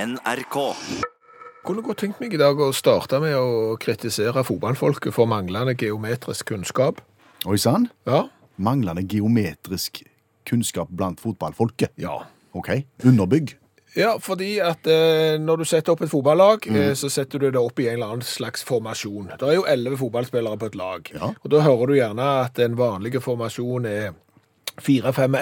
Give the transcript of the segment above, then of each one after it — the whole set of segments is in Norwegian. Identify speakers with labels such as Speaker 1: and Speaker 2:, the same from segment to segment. Speaker 1: NRK.
Speaker 2: Kunne godt tenkt meg i dag å starte med å kritisere fotballfolket for manglende geometrisk kunnskap.
Speaker 3: Oi sann.
Speaker 2: Ja.
Speaker 3: Manglende geometrisk kunnskap blant fotballfolket.
Speaker 2: Ja.
Speaker 3: OK. Underbygg.
Speaker 2: Ja, fordi at eh, når du setter opp et fotballag, eh, så setter du det opp i en eller annen slags formasjon. Det er jo elleve fotballspillere på et lag.
Speaker 3: Ja.
Speaker 2: Og da hører du gjerne at den vanlige formasjonen er 4-5-1,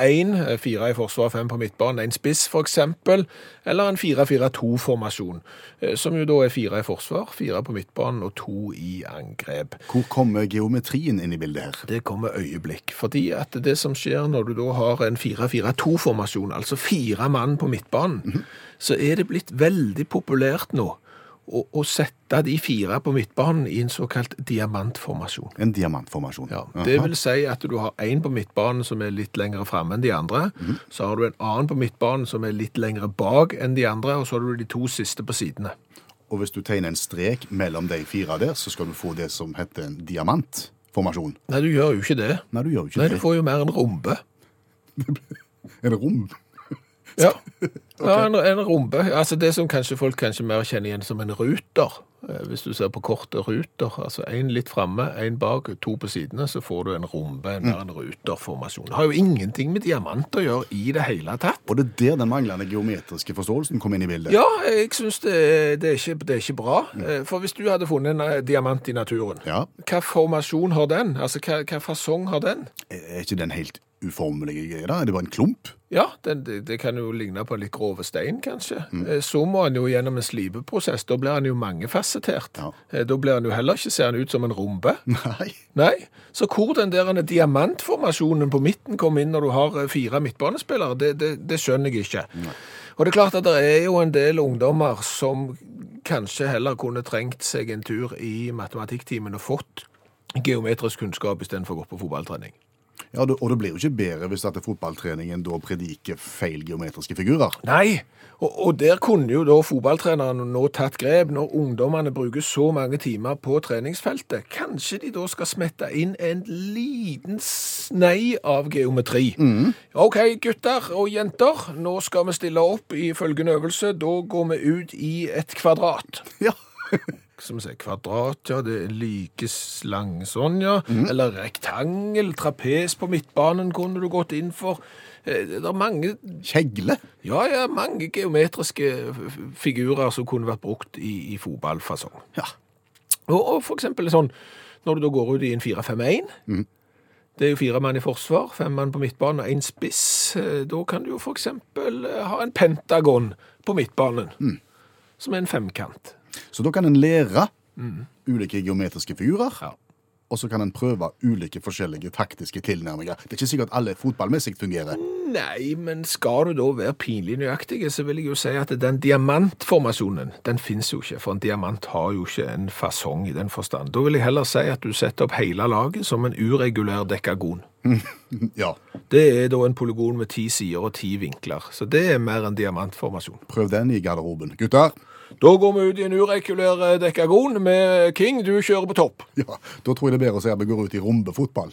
Speaker 2: eh, fire i forsvar, fem på midtbanen, en spiss for eksempel, eller en 4-4-2-formasjon, eh, som jo da er fire i forsvar, fire på midtbanen og to i angrep.
Speaker 3: Hvor kommer geometrien inn i bildet her?
Speaker 2: Det kommer øyeblikk, fordi at det som skjer når du da har en 4-4-2-formasjon, altså fire mann på midtbanen, så er det blitt veldig populært nå å, å sette de fire på midtbanen i en såkalt diamantformasjon.
Speaker 3: En diamantformasjon.
Speaker 2: Ja, det vil si at du har en på midtbanen som er litt lengre fremme enn de andre, så har du en annen på midtbanen som er litt lengre bak enn de andre, og så har du de to siste på sidene.
Speaker 3: Og hvis du tegner en strek mellom de fire der, så skal du få det som heter en diamantformasjon.
Speaker 2: Nei, du gjør jo ikke det.
Speaker 3: Nei, du gjør jo ikke
Speaker 2: Nei, du
Speaker 3: det.
Speaker 2: får jo mer en rombe.
Speaker 3: Er det rom?
Speaker 2: Ja, ja en, en rombe. Altså det som kanskje folk kanskje mer kjenner igjen som en ruter. Eh, Hvis du ser på kortet ruter, altså en litt fremme, en bak, to på sidene, så får du en rombe, en, mer en ruterformasjon. Det har jo ingenting med diamant å gjøre i det hele tatt.
Speaker 3: Og det er der den manglende geometriske forståelsen kom inn i bildet.
Speaker 2: Ja, jeg synes det, er- det, er ikke, det er ikke bra. Eh, For hvis du hadde funnet en eh, diamant i naturen,
Speaker 3: Ja.
Speaker 2: hva formasjon har den? Altså hva, hva fasong har den?
Speaker 3: Er ikke den helt uformelige greia? da? Er det bare en klump?
Speaker 2: Ja, den, det, det kan jo ligne på en litt grove stein, kanskje. Eh, Så må han jo gjennom en slipeprosess. Da blir han jo mangefasettert.
Speaker 3: Ja.
Speaker 2: Eh, Da blir han jo heller ikke, ser han ut som en rombe.
Speaker 3: Nei.
Speaker 2: Nei, så hvor den der diamantformasjonen på midten kom inn når du har eh, fire midtbanespillere, det, det, det skjønner jeg ikke. Og det er klart at det er jo en del ungdommer som kanskje heller kunne trengt seg en tur i matematikktimen og fått geometrisk kunnskap istedenfor å gå på fotballtrening.
Speaker 3: Ja, det- Og det blir jo ikke bedre hvis at fotballtreningen da prediker feil geometriske figurer.
Speaker 2: Nei, og, og der kunne jo da fotballtreneren nå tatt grep, når ungdommene bruker så mange timer på treningsfeltet. Kanskje de da skal smette inn en liten snei av geometri. Ok, gutter og jenter, nå skal vi stille opp i følgende øvelse. Da går vi ut i et kvadrat.
Speaker 3: Ja.
Speaker 2: Som sier kvadrat, ja, det er like slang sånn, ja. Eller rektangel, trapes på midtbanen kunne du gått inn for. Eh, Det er mange
Speaker 3: Kjegle.
Speaker 2: ja, ja, mange geometriske f- f- figurer som kunne vært brukt i, i fotballfasong.
Speaker 3: Ja.
Speaker 2: Og, og for eksempel sånn, når du da går ut i en 4-5-1, det er jo fire mann i forsvar, fem mann på midtbanen og en spiss, eh, da kan du jo for eksempel eh, ha en pentagon på midtbanen, som er en femkant.
Speaker 3: Så da kan en lære ulike geometriske figurer,
Speaker 2: Ja.
Speaker 3: og så kan en prøve ulike forskjellige taktiske tilnærminger. Det er ikke sikkert alle fotballmessig fungerer.
Speaker 2: Nei, men skal du da være pinlig nøyaktig, så vil jeg jo si at den diamantformasjonen, den finnes jo ikke, for en diamant har jo ikke en fasong i den forstand. Da vil jeg heller si at du setter opp hele laget som en uregulær dekagon.
Speaker 3: Ja,
Speaker 2: Det er da en polygon med ti sider og ti vinkler, så det er mer en diamantformasjon.
Speaker 3: prøv den i garderoben. Gutter,
Speaker 2: Da går vi ut i en uregulær eh, dekagon med King, du kjører på topp.
Speaker 3: ja, da tror jeg det er bedre å se at vi går ut i rombefotball.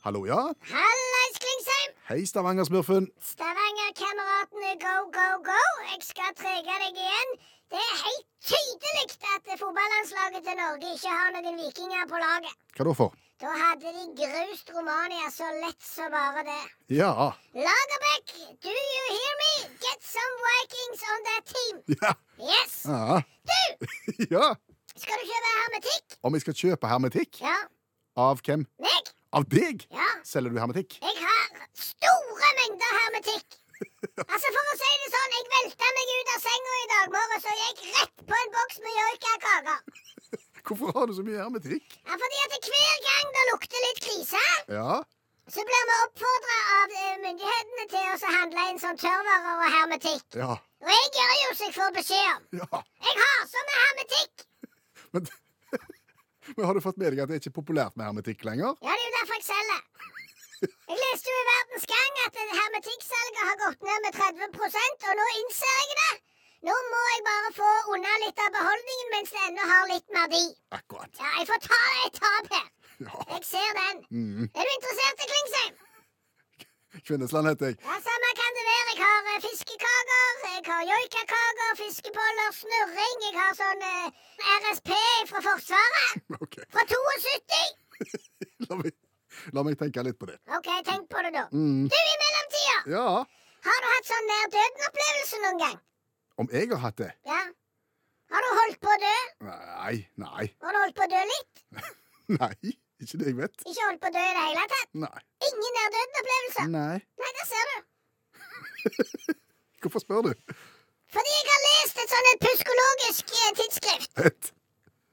Speaker 3: Hallo, ja.
Speaker 4: Hallais, Klingsheim!
Speaker 3: Hei, Stavanger-smurfen.
Speaker 4: Stavanger-kameratene go, go, go! Jeg skal trege deg igjen. Det er helt tydelig at fotballandslaget til Norge ikke har noen vikinger på laget.
Speaker 3: Hva da for?
Speaker 4: Da hadde de grust Romania så lett som bare det.
Speaker 3: Ja.
Speaker 4: Lagerbäck, do you hear me? Get some Vikings on that team!
Speaker 3: Ja.
Speaker 4: Yes!
Speaker 3: Ja.
Speaker 4: Du,
Speaker 3: ja.
Speaker 4: skal du kjøpe hermetikk?
Speaker 3: Om jeg skal kjøpe hermetikk?
Speaker 4: Ja.
Speaker 3: Av hvem?
Speaker 4: Meg?
Speaker 3: Av deg?
Speaker 4: Ja.
Speaker 3: Selger du hermetikk?
Speaker 4: Jeg har store mengder hermetikk. Altså For å si det sånn, jeg velta meg ut av senga i dag morges og gikk rett på en boks med joikakaker.
Speaker 3: Hvorfor har du så mye hermetikk?
Speaker 4: Ja, fordi at hver gang det lukter litt krise,
Speaker 3: Ja.
Speaker 4: så blir vi oppfordra av eh, myndighetene til oss å handle inn sånn tørrvarer og hermetikk.
Speaker 3: Ja.
Speaker 4: Og jeg gjør jo som jeg får beskjed om.
Speaker 3: ja.
Speaker 4: Jeg har sånn med hermetikk.
Speaker 3: Men, men har du fått med deg at det er ikke populært med hermetikk lenger?
Speaker 4: Ja, det er jo derfor jeg selger. Jeg leste jo i Verdens Gang at det hermetikksalget har gått ned med 30 og nå innser jeg det. Nå må jeg bare få unna litt av beholdningen mens det ennå har litt verdi.
Speaker 3: Akkurat.
Speaker 4: Ja, jeg får ta et tap her.
Speaker 3: Ja. Mm.
Speaker 4: Jeg ser den. Er du interessert i Klingsheim?
Speaker 3: Kvinnesland heter jeg.
Speaker 4: Ja, Samme kan det være. Jeg har eh, fiskekaker, jeg har joikakaker, fiskeboller, snurring. Jeg har sånn eh, RSP fra Forsvaret.
Speaker 3: Ok,
Speaker 4: Fra 72.
Speaker 3: la meg, la meg tenke litt på det. Mm.
Speaker 4: OK, tenk på det, da. Du, i mellomtida,
Speaker 3: Ja,
Speaker 4: har du hatt sånn nær døden-opplevelse noen gang?
Speaker 3: om jeg har hatt det?
Speaker 4: Ja. Har du holdt på å dø?
Speaker 3: Nei, nei,
Speaker 4: Har du holdt på å dø litt?
Speaker 3: nei. Ikke det jeg vet.
Speaker 4: Ikke holdt på å dø i det hele tatt?
Speaker 3: Nei.
Speaker 4: Ingen nær døden-opplevelser?
Speaker 3: Nei.
Speaker 4: Nei, det ser du.
Speaker 3: Hvorfor spør du?
Speaker 4: Fordi jeg har lest et sånn et pyskologisk eh, tidsskrift.
Speaker 3: Et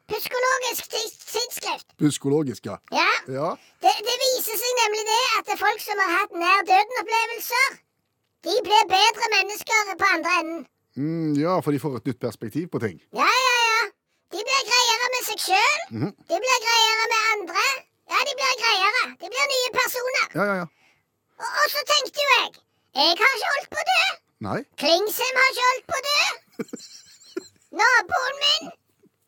Speaker 4: Pyskologisk tids tidsskrift.
Speaker 3: pyskologisk, ja.
Speaker 4: Ja.
Speaker 3: Ja,
Speaker 4: Det, det viser seg nemlig det at det er folk som har hatt nær-døden-opplevelser, de blir bedre mennesker på andre enden.
Speaker 3: mm, ja for de får et nytt perspektiv på ting.
Speaker 4: Ja, ja, ja. De blir greiere med seg sjøl.
Speaker 3: Mhm.
Speaker 4: De blir greiere med andre. Ja, de blir greiere. De blir nye personer.
Speaker 3: Ja, ja, ja.
Speaker 4: Og, og så tenkte jo jeg Jeg har ikke holdt på å dø.
Speaker 3: Nei.
Speaker 4: Klingsheim har ikke holdt på å dø. Naboen min,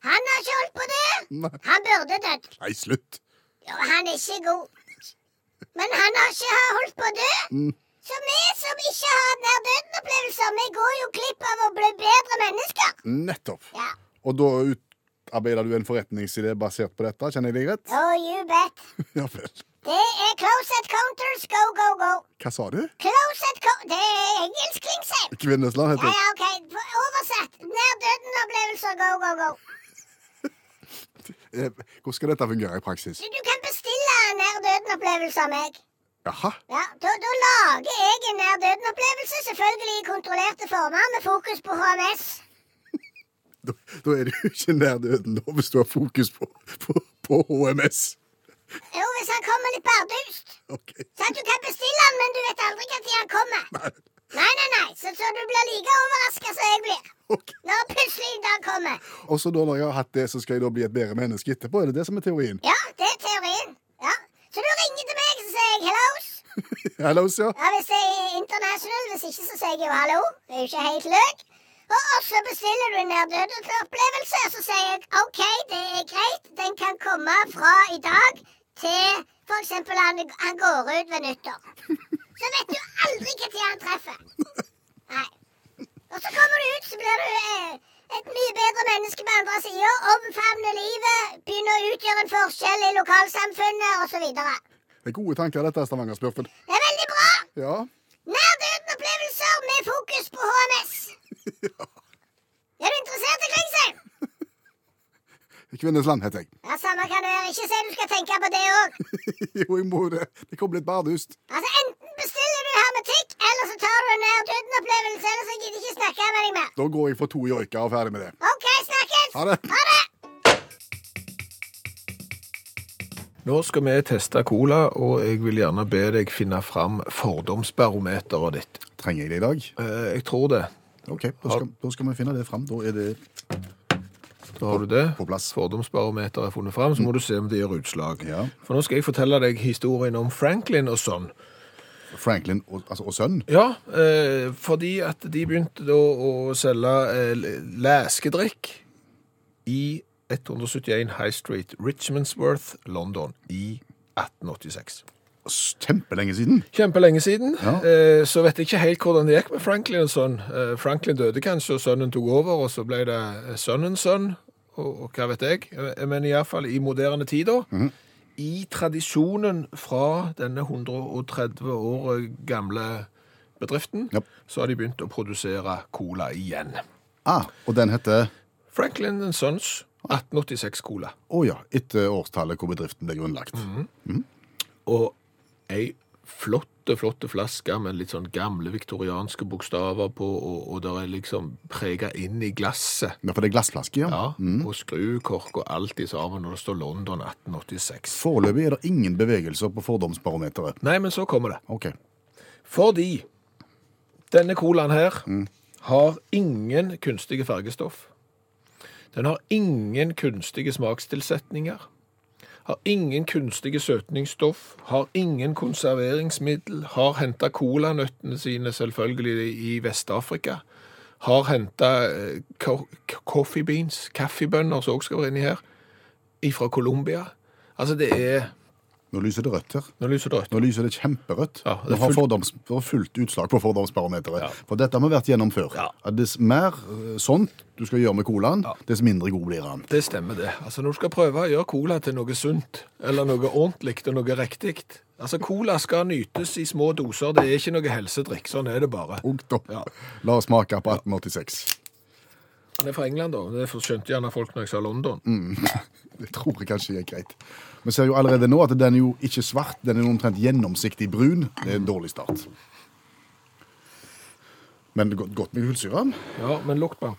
Speaker 4: han har ikke holdt på å dø.
Speaker 3: Nei,
Speaker 4: Han burde dødd.
Speaker 3: Nei, slutt.
Speaker 4: Jo, han er ikke god. Men han har ikke ha- holdt på å dø.
Speaker 3: Mm.
Speaker 4: Så vi som ikke har nær døden-opplevelser, vi går jo glipp av å bli bedre mennesker.
Speaker 3: Nettopp.
Speaker 4: Ja.
Speaker 3: Og da utarbeider du en forretningsidé basert på dette, kjenner jeg deg rett?
Speaker 4: Oh, you bet.
Speaker 3: Ja vel.
Speaker 4: Det er closet counters go, go, go.
Speaker 3: Hva sa du?
Speaker 4: Closet co... Det er engelsk, Klingsheim.
Speaker 3: Kvinnesland
Speaker 4: Ja,
Speaker 3: heter jeg.
Speaker 4: ja, OK. F- Oversatt. Nær døden-opplevelser go, go, go.
Speaker 3: Eh, Hvordan skal dette fungere i praksis?
Speaker 4: Du, du kan bestille en nær døden-opplevelse av meg.
Speaker 3: Jaha.
Speaker 4: Ja, da, da lager jeg en nær døden-opplevelse, selvfølgelig i kontrollerte former, med fokus på HMS.
Speaker 3: Da, da er du ikke nær døden da, hvis du har fokus på, på, på HMS.
Speaker 4: Jo, hvis han kommer litt bardust.
Speaker 3: OK.
Speaker 4: Sånn at du kan bestille han, men du vet aldri når han kommer.
Speaker 3: Nei.
Speaker 4: Nei, nei, nei, så, så du blir like overraska som jeg blir.
Speaker 3: Ok.
Speaker 4: Når plutselig en dag kommer.
Speaker 3: Og så da når jeg har hatt det, så skal jeg da bli et bedre menneske etterpå? Er det det som er teorien?
Speaker 4: Ja, det er teorien. Ja. Så du ringer til meg, så sier jeg hellos.
Speaker 3: Hallo, ja.
Speaker 4: Ja, Hvis det er international, hvis ikke så sier jeg jo hallo. Det er jo ikke helt løk. Og, og så bestiller du en nær-døden-opplevelse, og så sier jeg OK, det er greit. Den kan komme fra i dag til f.eks. Han, han går ut ved nyttår. Så vet du aldri når han treffer. Nei. Og så kommer du ut, så blir du eh, et mye bedre menneske på andre sida. Omfavner livet, begynner å utgjøre en forskjell i lokalsamfunnet osv. Det
Speaker 3: Det er gode tanker, dette, Stavanger-smurfen.
Speaker 4: er veldig bra.
Speaker 3: Ja.
Speaker 4: Nær-døden-opplevelser med fokus på HMS. Er du interessert i Klingsheim?
Speaker 3: Kvinnesland heter jeg.
Speaker 4: Ja, Samme kan det være. Ikke si du skal tenke på det òg.
Speaker 3: jo, jeg må det. Det kom litt bardust.
Speaker 4: Altså, enten bestiller du hermetikk, eller så tar du en nær-døden-opplevelse. Ellers jeg gidder ikke snakke med deg mer.
Speaker 3: Da går jeg for to joiker og ferdig med det.
Speaker 4: OK, snakkes.
Speaker 3: Ha det.
Speaker 4: Ha det.
Speaker 2: Nå skal vi teste cola, og jeg vil gjerne be deg finne fram fordomsbarometeret ditt.
Speaker 3: Trenger jeg det i dag?
Speaker 2: Eh, Jeg tror det.
Speaker 3: OK, da skal, da skal vi finne det fram. Da er det
Speaker 2: Da har du det.
Speaker 3: På plass.
Speaker 2: Fordomsbarometeret er funnet fram, så må du se om det gjør utslag.
Speaker 3: Ja.
Speaker 2: For nå skal jeg fortelle deg historien om Franklin og sånn.
Speaker 3: Franklin og, altså, og sønn.
Speaker 2: Ja, eh, fordi at de begynte da å selge eh, læskedrikk i 171 High Street, Richmondsworth, London, i 1886.
Speaker 3: S- Kjempelenge siden.
Speaker 2: Kjempelenge siden.
Speaker 3: Ja.
Speaker 2: Eh, så vet jeg ikke helt hvordan det gikk med Franklin og sønn. Eh, Franklin døde kanskje, og sønnen tok over, og så ble det eh, sønnens sønn, og, og hva vet jeg. Eh, Men iallfall i moderne tid, da.
Speaker 3: Mhm.
Speaker 2: I tradisjonen fra denne 130 år gamle bedriften,
Speaker 3: Japp.
Speaker 2: så har de begynt å produsere cola igjen.
Speaker 3: Ah, og den heter
Speaker 2: Franklin Sons 1886-cola.
Speaker 3: Å ja, etter årstallet hvor bedriften ble grunnlagt.
Speaker 2: Mhm. Og ei flotte, flotte flaske med litt sånn gamle viktorianske bokstaver på, og, og det er liksom prega inn i glasset.
Speaker 3: Ja, for det er glassflaske, ja.
Speaker 2: Ja, Og skrukork og alt i sammen når det står London 1886.
Speaker 3: Foreløpig er det ingen bevegelser på fordomsbarometeret.
Speaker 2: Nei, men så kommer det.
Speaker 3: OK.
Speaker 2: Fordi denne colaen her har ingen kunstige fargestoff. Den har ingen kunstige smakstilsetninger. Har ingen kunstige søtningsstoff, har ingen konserveringsmiddel, har henta colanøttene sine selvfølgelig i Vest-Afrika. Har henta coffee beans, kaffebønner som også skal være inni her, ifra Colombia. Altså, det er
Speaker 3: Nå lyser det rødt her.
Speaker 2: Nå lyser det rødt.
Speaker 3: Nå lyser det kjemperødt.
Speaker 2: Ja, det er
Speaker 3: Nå har
Speaker 2: fullt-
Speaker 3: fordoms, det er fullt utslag på fordomsbarometeret.
Speaker 2: Ja.
Speaker 3: For dette har vi vært gjennom før.
Speaker 2: Ja.
Speaker 3: At Dess mer eh, sånt du skal gjøre med colaen, dess mindre god blir han.
Speaker 2: Det stemmer, det. Altså, Når du skal prøve å gjøre cola til noe sunt, eller noe ordentlig og noe riktig Altså, Cola skal nytes i små doser, det er ikke noe helsedrikk. Sånn er det bare.
Speaker 3: Punktum.
Speaker 2: Ja.
Speaker 3: La oss smake på 1886.
Speaker 2: Han er fra England, da. Det skjønte gjerne folk når jeg sa London.
Speaker 3: Det tror jeg kanskje er greit. Vi ser jo allerede nå at den er jo ikke svart, den er omtrent gjennomsiktig brun. Det er en dårlig start. Men det er godt- godt med kullsyre.
Speaker 2: Ja, men lukt på den.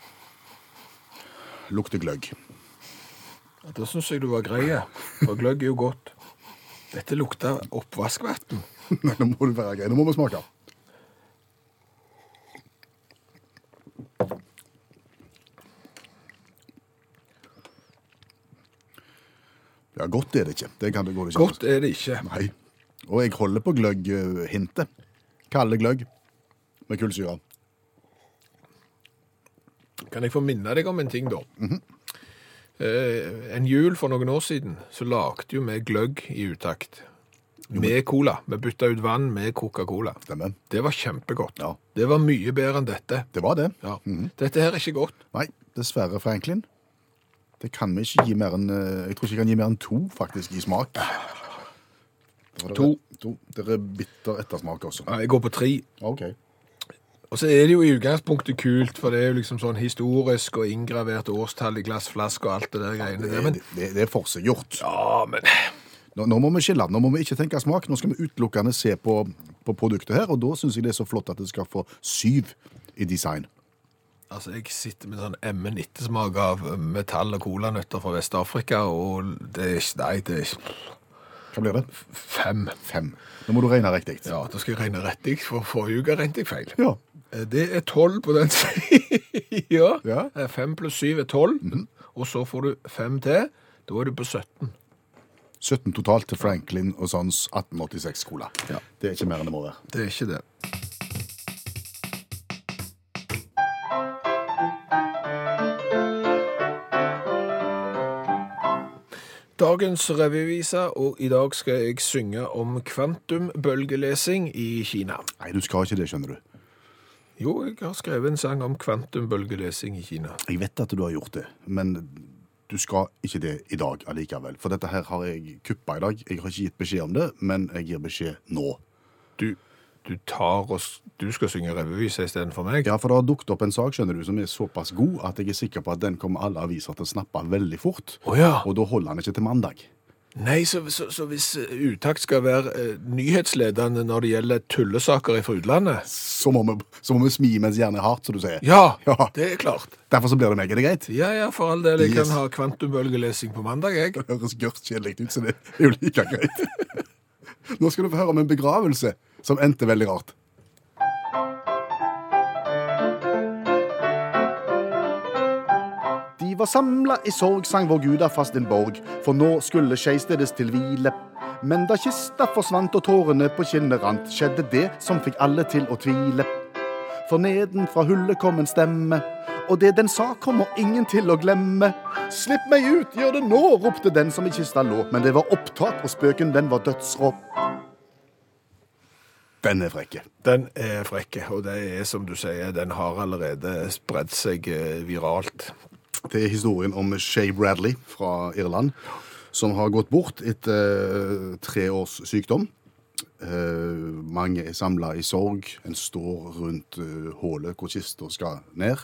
Speaker 3: Lukter gløgg.
Speaker 2: Ja, Da syns jeg du var grei, for gløgg er jo godt. Dette lukter oppvaskvann.
Speaker 3: Nei, nå må du være grei. Nå må vi smake. Ja, godt er det ikke. Det kan det gå det ikke.
Speaker 2: Godt er det ikke.
Speaker 3: Nei. Og jeg holder på gløgg-hintet. Kalde gløgg med kullsyre.
Speaker 2: Kan jeg få minne deg om en ting, da?
Speaker 3: Mhm.
Speaker 2: eh, en jul for noen år siden så lagde jo vi gløgg i utakt. Med cola. Vi bytta ut vann med Coca-Cola.
Speaker 3: Stemmer.
Speaker 2: Det var kjempegodt.
Speaker 3: Ja. Mhm.
Speaker 2: Det var mye bedre enn dette.
Speaker 3: Det var det.
Speaker 2: Ja. Dette her er ikke godt.
Speaker 3: Nei, dessverre, Franklin. Det kan vi ikke gi mer enn eh, Jeg tror ikke jeg kan gi mer enn to, faktisk, i smak. Da var det-
Speaker 2: To.
Speaker 3: to. Det er bitter ettersmak også.
Speaker 2: Ja, Jeg går på tre.
Speaker 3: OK.
Speaker 2: Og så er det jo i utgangspunktet kult, for det er jo liksom sånn historisk og inngravert årstall i glassflaske og alt det der greiene der.
Speaker 3: Det,
Speaker 2: Men,
Speaker 3: det, det er forseggjort.
Speaker 2: ja, men
Speaker 3: Nå, nå må vi skille. Nå må vi ikke tenke smak. Nå skal vi utelukkende se på, på produktet her, og da syns jeg det er så flott at det skal få syv i design.
Speaker 2: Altså, Jeg sitter med sånn emmen ettersmak av metall og colanøtter fra Vest-Afrika, og det er ikke Nei, det er ikke
Speaker 3: Hva blir det?
Speaker 2: fem.
Speaker 3: Fem. Nå må du regne riktig.
Speaker 2: Ja, da skal jeg regne rettig, for forrige uke regnet jeg feil.
Speaker 3: Ja.
Speaker 2: Eh, Det er tolv på den siden. ja.
Speaker 3: Ja.
Speaker 2: Eh, Fem pluss syv er tolv, og så får du fem til. Da er du på 17.
Speaker 3: 17 totalt til Franklin og Sons 1886-cola.
Speaker 2: Ja.
Speaker 3: Det er ikke mer enn det må være.
Speaker 2: Det er ikke det. Dagens revyvise, og i dag skal jeg synge om kvantumbølgelesing i Kina.
Speaker 3: Nei, du skal ikke det, skjønner du.
Speaker 2: Jo, jeg har skrevet en sang om kvantumbølgelesing i Kina.
Speaker 3: Jeg vet at du har gjort det, men du skal ikke det i dag allikevel. For dette her har jeg kuppa i dag. Jeg har ikke gitt beskjed om det, men jeg gir beskjed nå.
Speaker 2: Du, du tar oss Du skal synge revyvise istedenfor meg?
Speaker 3: Ja, for det har dukket opp en sak skjønner du, som er såpass god at jeg er sikker på at den kommer alle aviser til å snappe veldig fort.
Speaker 2: Å ja.
Speaker 3: Og da holder han ikke til mandag.
Speaker 2: Nei, så, så, så hvis eh, Utakt skal være eh, nyhetsledende når det gjelder tullesaker fra utlandet
Speaker 3: Så må vi, så må vi smi mens jernet er hardt, som du sier.
Speaker 2: Ja,
Speaker 3: Ja.
Speaker 2: det er klart.
Speaker 3: Derfor så blir det meg. Er det greit?
Speaker 2: Ja, ja, for all del. Jeg
Speaker 3: Yes.
Speaker 2: kan ha kvantumbølgelesing på mandag, jeg.
Speaker 3: Det høres gørrkjedelig ut, så det er jo like greit. Nå skal du få høre om en begravelse som endte veldig rart. De var samla i sorg, sang vår Gud er fast en borg, for nå skulle skeistedes til hvile. Men da kista forsvant og tårene på kinnet rant, skjedde det som fikk alle til å tvile. For nedenfra hullet kom en stemme, og det den sa kommer ingen til å glemme. Slipp meg ut, gjør det nå, ropte den som i kista lå, men det var opptatt, og spøken den var dødsrå. Den er frekke.
Speaker 2: Den er frekke, og det er som du sier, den har allerede spredt seg eh, viralt.
Speaker 3: Det er historien om Shay Bradley fra Irland, som har gått bort etter eh, tre års sykdom. Eh, mange er samla i sorg. En står rundt eh, hullet hvor kista skal ned.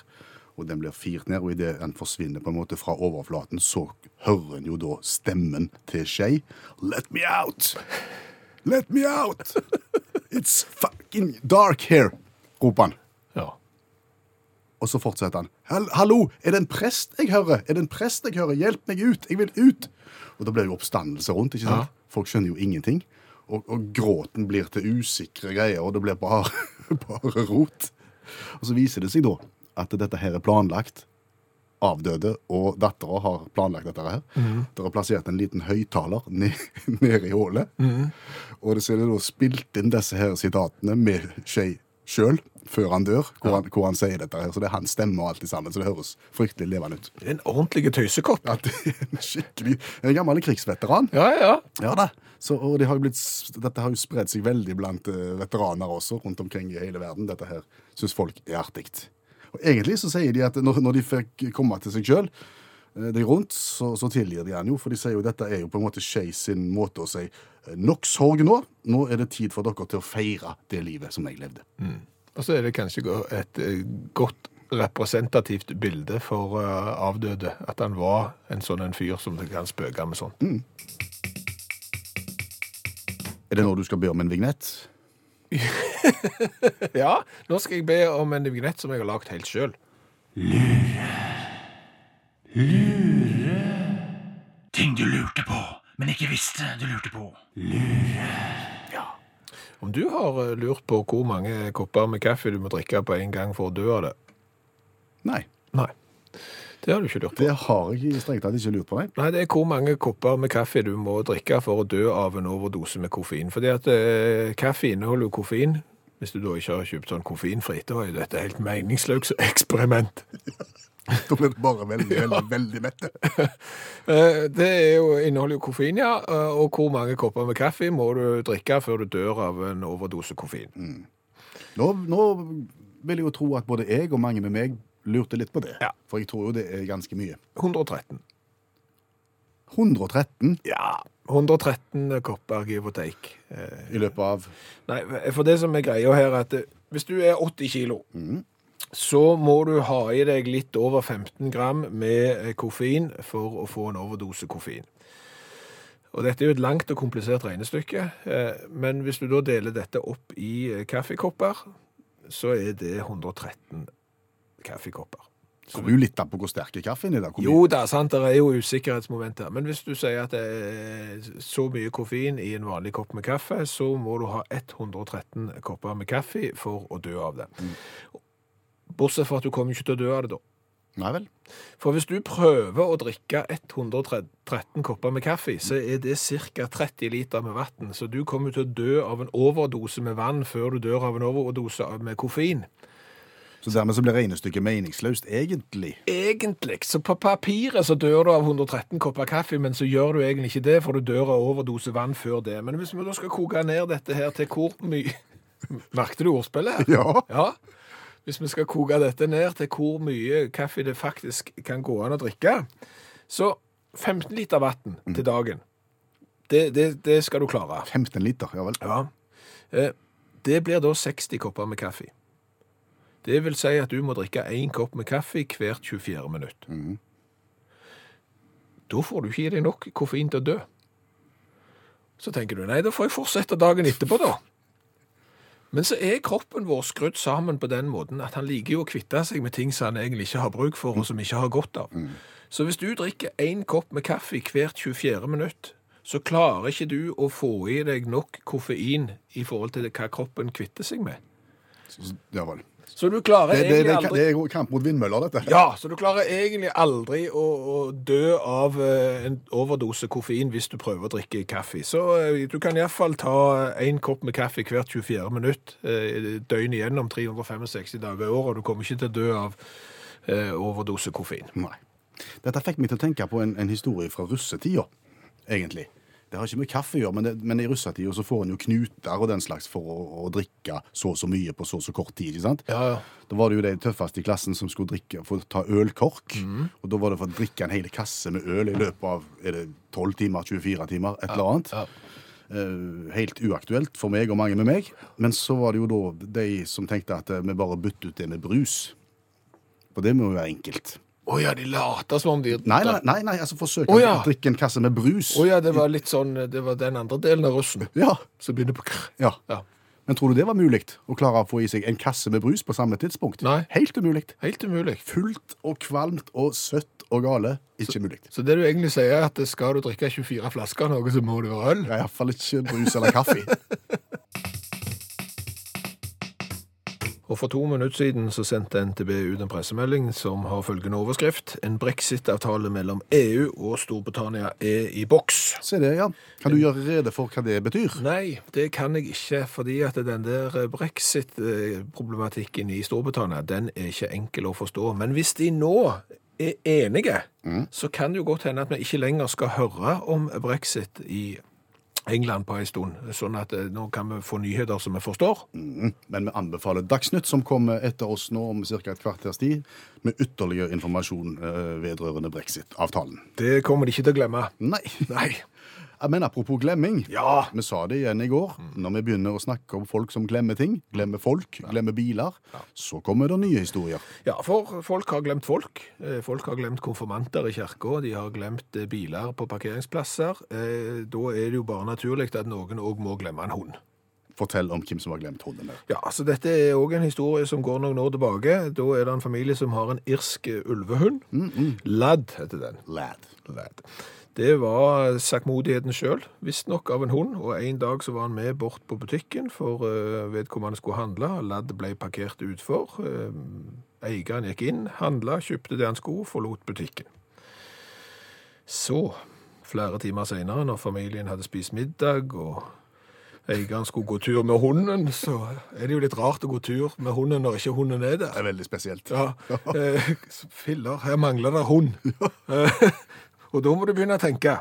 Speaker 3: Og den blir firt ned, og idet den forsvinner på en måte fra overflaten, så hører en jo da stemmen til Shay. Let me out! Let me out! It's fucking dark here! roper han.
Speaker 2: Ja.
Speaker 3: Og så fortsetter han. «Hall- Hallo, er det en prest jeg hører? Er det en prest jeg hører? Hjelp meg ut! Jeg vil ut! Og da blir det jo oppstandelse rundt. ikke sant? Folk skjønner jo ingenting. Og, og gråten blir til usikre greier, og det blir bare, bare rot. Og så viser det seg da at dette her er planlagt. Avdøde og dattera har planlagt dette her. Dere har plassert en liten høyttaler ned, nede i hullet. Og det ser det da spilt inn disse her sitatene med Shay sjøl før han dør, hvor han, hvor han sier dette her. Så det er hans stemme og alt i sammen. Så det høres fryktelig levende ut.
Speaker 2: En ordentlig tøysekopp.
Speaker 3: At det er en skikkelig En gammel krigsveteran.
Speaker 2: Ja, ja.
Speaker 3: Ja da. Så, og de har jo blitt, s- dette har jo spredt seg veldig blant eh, veteraner også, rundt omkring i hele verden. Dette her syns folk er artig. Og egentlig så sier de at når, når de fikk komme til seg sjøl, de rundt, så, så tilgir de han jo. For de sier jo dette er jo på en måte Skei sin måte å si eh, nok sorg nå. Nå er det tid for dere til å feire det livet som jeg levde.
Speaker 2: Og så er det kanskje go- et eh, godt representativt bilde for eh, avdøde. At han var en sånn en fyr som det kan spøke med sånn.
Speaker 3: Er det nå du skal be om en vignett?
Speaker 2: Ja, nå skal jeg be om en vignett som jeg har lagd helt sjøl.
Speaker 1: Ting du lurte på, men ikke visste du lurte på.
Speaker 2: Om du har eh, lurt på hvor mange kopper med kaffe du må drikke på en gang for å dø av det?
Speaker 3: Nei.
Speaker 2: Nei. Det har du ikke lurt på.
Speaker 3: Det har jeg strengt tatt ikke lurt på, nei.
Speaker 2: Nei, det er hvor mange kopper med kaffe du må drikke for å dø av en overdose med koffein. Fordi at eh, kaffe inneholder jo koffein. Hvis du da ikke har kjøpt sånn koffeinfritt, da er jo dette helt meningsløst eksperiment.
Speaker 3: Da ble det bare veldig, veldig, veldig mette.
Speaker 2: Eh, Det er jo, inneholder jo koffein, ja. eh, Og hvor mange kopper med kaffe må du drikke før du dør av en overdose koffein?
Speaker 3: Nå, nå vil jeg jo tro at både jeg og mange med meg lurte litt på det.
Speaker 2: Ja.
Speaker 3: For jeg tror jo det er ganske mye.
Speaker 2: 113.
Speaker 3: 113
Speaker 2: Ja. 113 kopper give or take. Eh,
Speaker 3: i løpet av
Speaker 2: Nei, for det som er greia her, er at eh, hvis du er 80 kilo, så må du ha i deg litt over 15 gram med eh, koffein for å få en overdose koffein. Og dette er jo et langt og komplisert regnestykke, eh, men hvis du da deler dette opp i eh, kaffekopper, så er det 113 kaffekopper.
Speaker 3: Kommer jo litt an på hvor sterk er kaffen i dag. Hvor mye-
Speaker 2: Jo da, sant, det er jo usikkerhetsmomenter. Men hvis du sier at det er så mye koffein i en vanlig kopp med kaffe, så må du ha 113 kopper med kaffe for å dø av det. Bortsett fra at du kommer ikke til å dø av det da.
Speaker 3: Nei vel.
Speaker 2: For hvis du prøver å drikke 113 kopper med kaffe, så er det ca. 30 liter med vann. Så du kommer til å dø av en overdose med vann før du dør av en overdose av- med koffein.
Speaker 3: Så dermed så blir regnestykket meningsløst, egentlig.
Speaker 2: Egentlig, så på papiret så dør du av 113 kopper kaffe, men så gjør du egentlig ikke det, for du dør av overdose vann før det. Men hvis vi da skal koke ned dette her til hvor mye Merket du ordspillet her?
Speaker 3: Ja.
Speaker 2: Ja. Hvis vi skal koke dette ned til hvor mye kaffe det faktisk kan gå an å drikke, så 15 liter vann til dagen, det, det, det skal du klare.
Speaker 3: 15 liter, ja vel.
Speaker 2: Ja. Eh, Det blir da 60 kopper med kaffe. Det vil si at du må drikke én kopp med kaffe hvert 24 minutt. Da får du ikke i deg nok koffein til å dø. Så tenker du nei, da får jeg fortsette dagen etterpå, da. Men så er kroppen vår skrudd sammen på den måten at han liker jo å kvitte seg med ting som han egentlig ikke har bruk for, og som ikke har godt av. Så hvis du drikker én kopp med kaffe hvert 24 minutt, så klarer ikke du å få i deg nok koffein i forhold til hva kroppen kvitter seg med.
Speaker 3: Så- Ja vel.
Speaker 2: Så du klarer
Speaker 3: Det, det,
Speaker 2: egentlig
Speaker 3: det, det,
Speaker 2: aldri
Speaker 3: er jo kamp mot vindmøller, dette.
Speaker 2: ja, så du klarer egentlig aldri å, å dø av eh, en overdose koffein hvis du prøver å drikke kaffe. Så eh, du kan iallfall ta én kopp med kaffe hvert 24 minutt eh, døgnet igjennom 365 dager i året, og du kommer ikke til å dø av eh, overdose koffein.
Speaker 3: Nei. Dette fikk meg til å tenke på en, en historie fra russetida, egentlig. Det har ikke med kaffe å gjøre, men, det, men i russetida så får en jo knuter og den slags for å, å drikke så og så mye på så og så kort tid. ikke sant?
Speaker 2: Ja, ja.
Speaker 3: Da var det jo de tøffeste i klassen som skulle drikke, få ta ølkork.
Speaker 2: Mhm.
Speaker 3: Og da var det for å drikke en hel kasse med øl i løpet av er det 12 timer, 24 timer, et eller annet. Eh, helt uaktuelt for meg og mange med meg. Men så var det jo da de som tenkte at eh, vi bare bytter ut det med brus. For det må jo være enkelt.
Speaker 2: Å ja, de later som om de
Speaker 3: Nei, nei, nei, nei altså forsøk
Speaker 2: Å, ja.
Speaker 3: å drikke en kasse med brus.
Speaker 2: Å ja, det var litt sånn Det var den andre delen av russen
Speaker 3: ja.
Speaker 2: som begynner på kr.
Speaker 3: ja.
Speaker 2: Ja.
Speaker 3: Men tror du det var mulig å klare å få i seg en kasse med brus på samme tidspunkt?
Speaker 2: Nei.
Speaker 3: Helt umulig.
Speaker 2: Helt umulig.
Speaker 3: Fullt og kvalmt og søtt og gale. Ikke mulig.
Speaker 2: Så det du egentlig sier, er at skal du drikke 24 flasker av noe, så må det være øl?
Speaker 3: Ja, Iallfall ikke brus eller kaffe.
Speaker 2: Og for to minutter siden så sendte NTB ut en pressemelding som E har følgende overskrift En brexit-avtale mellom EU og Storbritannia er i boks.
Speaker 3: Se det, ja. Kan du gjøre rede for hva det betyr?
Speaker 2: Nei, det kan jeg ikke, fordi at den der brexit-problematikken i Storbritannia, den er ikke enkel å forstå. Men hvis de nå er enige, så kan det jo godt hende at vi ikke lenger skal høre om brexit i England på en stund, sånn at eh, nå kan vi få nyheter som vi forstår.
Speaker 3: Mm. Men vi anbefaler Dagsnytt, som kommer etter oss nå om ca. et kvarters tid, med ytterligere informasjon eh, vedrørende brexit-avtalen.
Speaker 2: Det kommer de ikke til å glemme.
Speaker 3: Nei.
Speaker 2: Nei.
Speaker 3: Ja, Men apropos glemming.
Speaker 2: Ja.
Speaker 3: Vi sa det igjen i går. Når vi begynner å snakke om folk som glemmer ting, glemmer folk, glemmer biler, så kommer det nye historier.
Speaker 2: Ja, for folk har glemt folk. Eh, Folk har glemt konfirmanter i kirka, de har glemt eh, biler på parkeringsplasser. Eh, Da er det jo bare naturlig at noen òg må glemme en hund.
Speaker 3: Fortell om hvem som har glemt hunden der.
Speaker 2: Ja, så dette er òg en historie som går noen år tilbake. Da er det en familie som har en irsk eh, ulvehund. Ladd heter den.
Speaker 3: Mm, Lad.
Speaker 2: Ladd. Det var sakkmodigheten sjøl, visstnok av en hund. Og en dag så var han med bort på butikken, for eh, vedkommende skulle handle. Ladd ble parkert utfor. Eh, Eieren gikk inn, handla, kjøpte det han skulle, forlot butikken. Så, flere timer seinere, når familien hadde spist middag og eieren skulle gå tur med hunden, så er det jo litt rart å gå tur med hunden når ikke hunden er der.
Speaker 3: Det er veldig spesielt.
Speaker 2: Ja. Eh, filler, her mangler det hund. Eh, og da må du begynne å tenke.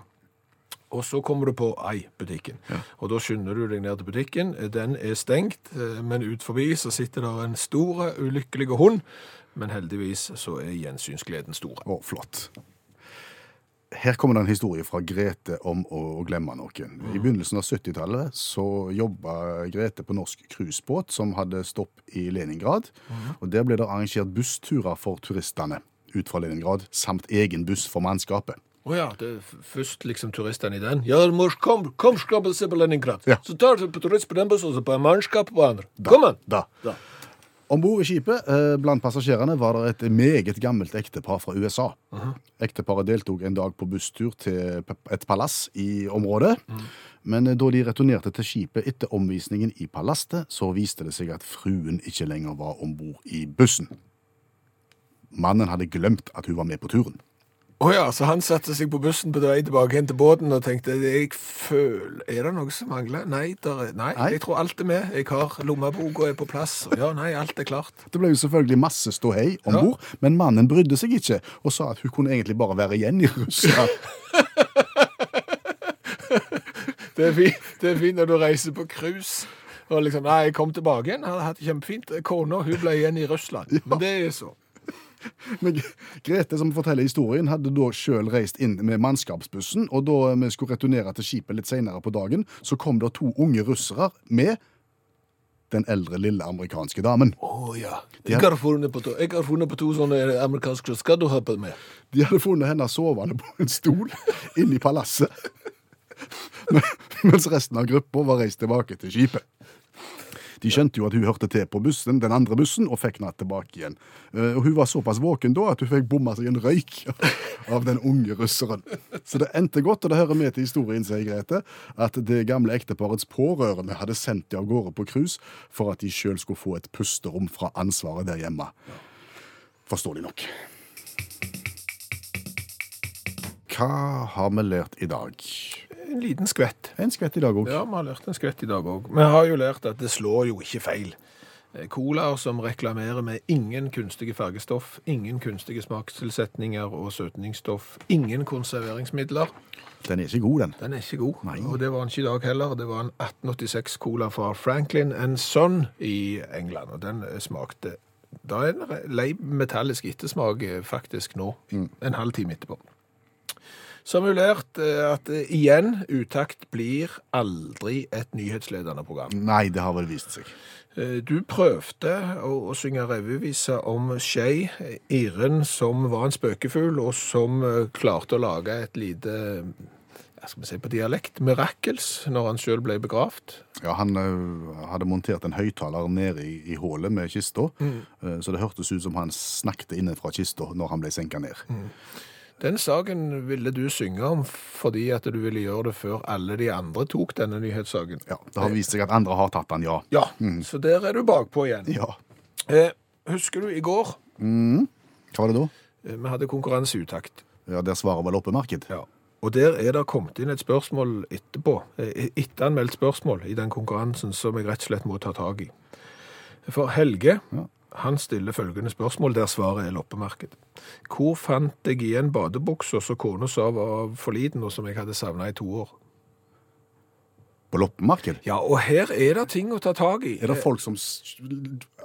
Speaker 2: Og så kommer du på Ei-butikken. Og da skynder du deg ned til butikken. Eh, Den er stengt, eh, men ut forbi så sitter der en stor, ulykkelig hund. Men heldigvis så er gjensynsgleden stor.
Speaker 3: Å, flott. Her kommer det en historie fra Grete om å å glemme noen. I begynnelsen av 70-tallet så jobba Grete på norsk cruisebåt som hadde stopp i Leningrad. Og Der ble det arrangert bussturer for turistene ut fra Leningrad, samt egen buss for mannskapet.
Speaker 2: Å ja, det er f- først liksom turistene i den. Ja, du må kom, kom skal vi se på Leningrad.
Speaker 3: Ja.
Speaker 2: Så tar du på turist på den bussen, og så på en mannskap på andre. Kom an!
Speaker 3: Da.
Speaker 2: Da.
Speaker 3: Om bord i skipet eh, blant passasjerene var det et meget gammelt ektepar fra USA. Ekteparet deltok en dag på busstur til p- et palass i området. Men eh, da de returnerte til skipet etter omvisningen i palasset, så viste det seg at fruen ikke lenger var om bord i bussen. Mannen hadde glemt at hun var med på turen.
Speaker 2: Å ja, så han satte seg på bussen på vei tilbake hen til båten og tenkte jeg føler, Er det noe som mangler? Nei, der er, nei,
Speaker 3: Nei.
Speaker 2: jeg tror alt er med. Jeg har lommeboka er på plass. og Ja, nei, alt er klart.
Speaker 3: Det ble jo selvfølgelig masse ståhei om bord, men mannen brydde seg ikke, og sa at hun kunne egentlig bare være igjen i Russland.
Speaker 2: Det er fint, det er fint når du reiser på cruise. Og liksom, nei, jeg kom tilbake igjen, hadde hatt det kjempefint. Kona hun ble igjen i Russland. Men det er så.
Speaker 3: Men Grete, som forteller historien, hadde da sjøl reist inn med mannskapsbussen, og da vi skulle returnere til skipet litt seinere på dagen, så kom det to unge russere med den eldre, lille amerikanske damen.
Speaker 2: Å ja.
Speaker 3: har-
Speaker 2: Jeg har funnet på to, jeg har funnet på to sånne amerikanske Skal du hoppe med?
Speaker 3: De hadde funnet henne sovende på en stol inne i palasset. Men- Mens resten av gruppa var reist tilbake til skipet. De skjønte jo at hun hørte til på bussen, den andre bussen og fikk henne tilbake igjen. Eh, Og Hun var såpass våken da at hun fikk bomma seg en røyk av den unge russeren. Så det endte godt, og det hører med til historien, sier Grete, at det gamle ekteparets pårørende hadde sendt de av gårde på cruise for at de sjøl skulle få et pusterom fra ansvaret der hjemme. Forståelig nok. Hva har vi lært i dag?
Speaker 2: En liten skvett.
Speaker 3: En skvett i dag òg.
Speaker 2: Ja, vi har lært en skvett i dag òg. Vi har jo lært at det slår jo ikke feil. Eh, Colaer som reklamerer med ingen kunstige fargestoff, ingen kunstige smakstilsetninger og søtningsstoff, ingen konserveringsmidler,
Speaker 3: Den er ikke god, den.
Speaker 2: den er ikke god. Og det var den ikke i dag heller. Det var en 1886-cola fra Franklin and Son i England, og den eh, smakte Da er det en lei metallisk ettersmak eh, faktisk nå, en halv time etterpå. Som jo lært eh, at eh, igjen, utakt blir aldri et nyhetsledende program.
Speaker 3: Nei, det har vel vist seg.
Speaker 2: Eh, Du prøvde å, å synge revyvise om Skei, eh, irren som var en spøkefugl, og som eh, klarte å lage et lite hva skal vi si på dialekt, mirakels, når han sjøl ble begravd.
Speaker 3: Ja, Han ø, hadde montert en høyttaler nede i, i hullet med kista, ø, så det hørtes ut som han snakket innenfra kista når han ble senka ned.
Speaker 2: Den saken ville du synge om fordi at du ville gjøre det før alle de andre tok denne nyhetssaken.
Speaker 3: Ja, Det har vist seg at andre har tatt han, ja.
Speaker 2: Ja, så der er du bakpå igjen.
Speaker 3: Ja.
Speaker 2: Eh, husker du i går?
Speaker 3: Hva var det da?
Speaker 2: eh, Vi hadde konkurranse i utakt.
Speaker 3: Ja, Der svarer vel loppemarked?
Speaker 2: Ja. Og der er det kommet inn et spørsmål etterpå, eh, etteranmeldt spørsmål i den konkurransen som jeg rett og slett må ta tak i. For Helge, han stiller følgende spørsmål der svaret er loppemarked. Hvor fant jeg igjen badebuksa som kona sa var for liten, og som jeg hadde savna i to år?
Speaker 3: På loppemarked?
Speaker 2: Ja, og her er det ting å ta tak i.
Speaker 3: Er det folk som s-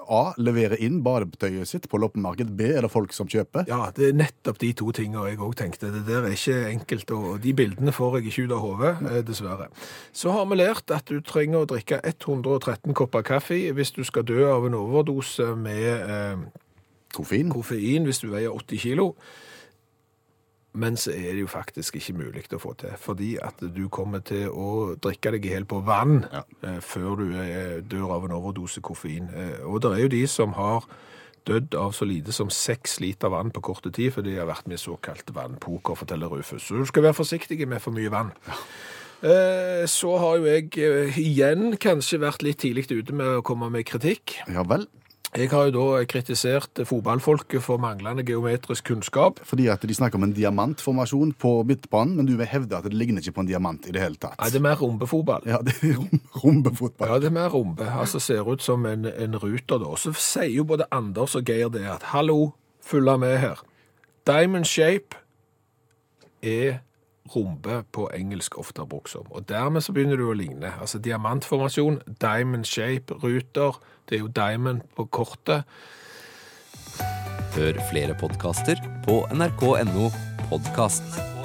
Speaker 3: A. leverer inn badetøyet sitt på loppemarked? B. Er det folk som kjøper?
Speaker 2: Ja, det er nettopp de to tingene jeg òg tenkte. Det der er ikke enkelt, og de bildene får jeg ikke ut av hodet, eh, dessverre. Så har vi lært at du trenger å drikke 113 kopper kaffe hvis du skal dø av en overdose med eh,
Speaker 3: Koffein?
Speaker 2: koffein hvis du veier 80 kilo. Men så er det jo faktisk ikke mulig å få til, fordi at du kommer til å drikke deg i hjel på vann
Speaker 3: Ja.
Speaker 2: eh, før du eh, dør av en overdose koffein. Eh, og det er jo de som har dødd av så lite som seks liter vann på korte tid, for de har vært med i såkalt vannpoker, forteller Rufus. Så du skal være forsiktig med for mye vann. Eh, så har jo jeg eh, igjen kanskje vært litt tidlig ute med å komme med kritikk.
Speaker 3: Ja vel.
Speaker 2: Jeg har jo da kritisert fotballfolket for manglende geometrisk kunnskap.
Speaker 3: Fordi at de snakker om en diamantformasjon på midtbanen, men du vil hevde at det ligner ikke på en diamant i det hele tatt.
Speaker 2: Nei, det er mer rumbefotball.
Speaker 3: Ja, det er rom- rombefotball.
Speaker 2: Ja, det er mer rumbe. Altså ser ut som en, en ruter, da. Så sier jo både Anders og Geir det at hallo, følg med her. Diamond shape er rumbe på engelsk ofte brukt som. Og dermed så begynner du å ligne. Altså diamantformasjon, diamond shape, ruter. Det er jo diamond på kortet.
Speaker 5: Hør flere podkaster på nrk.no podkast.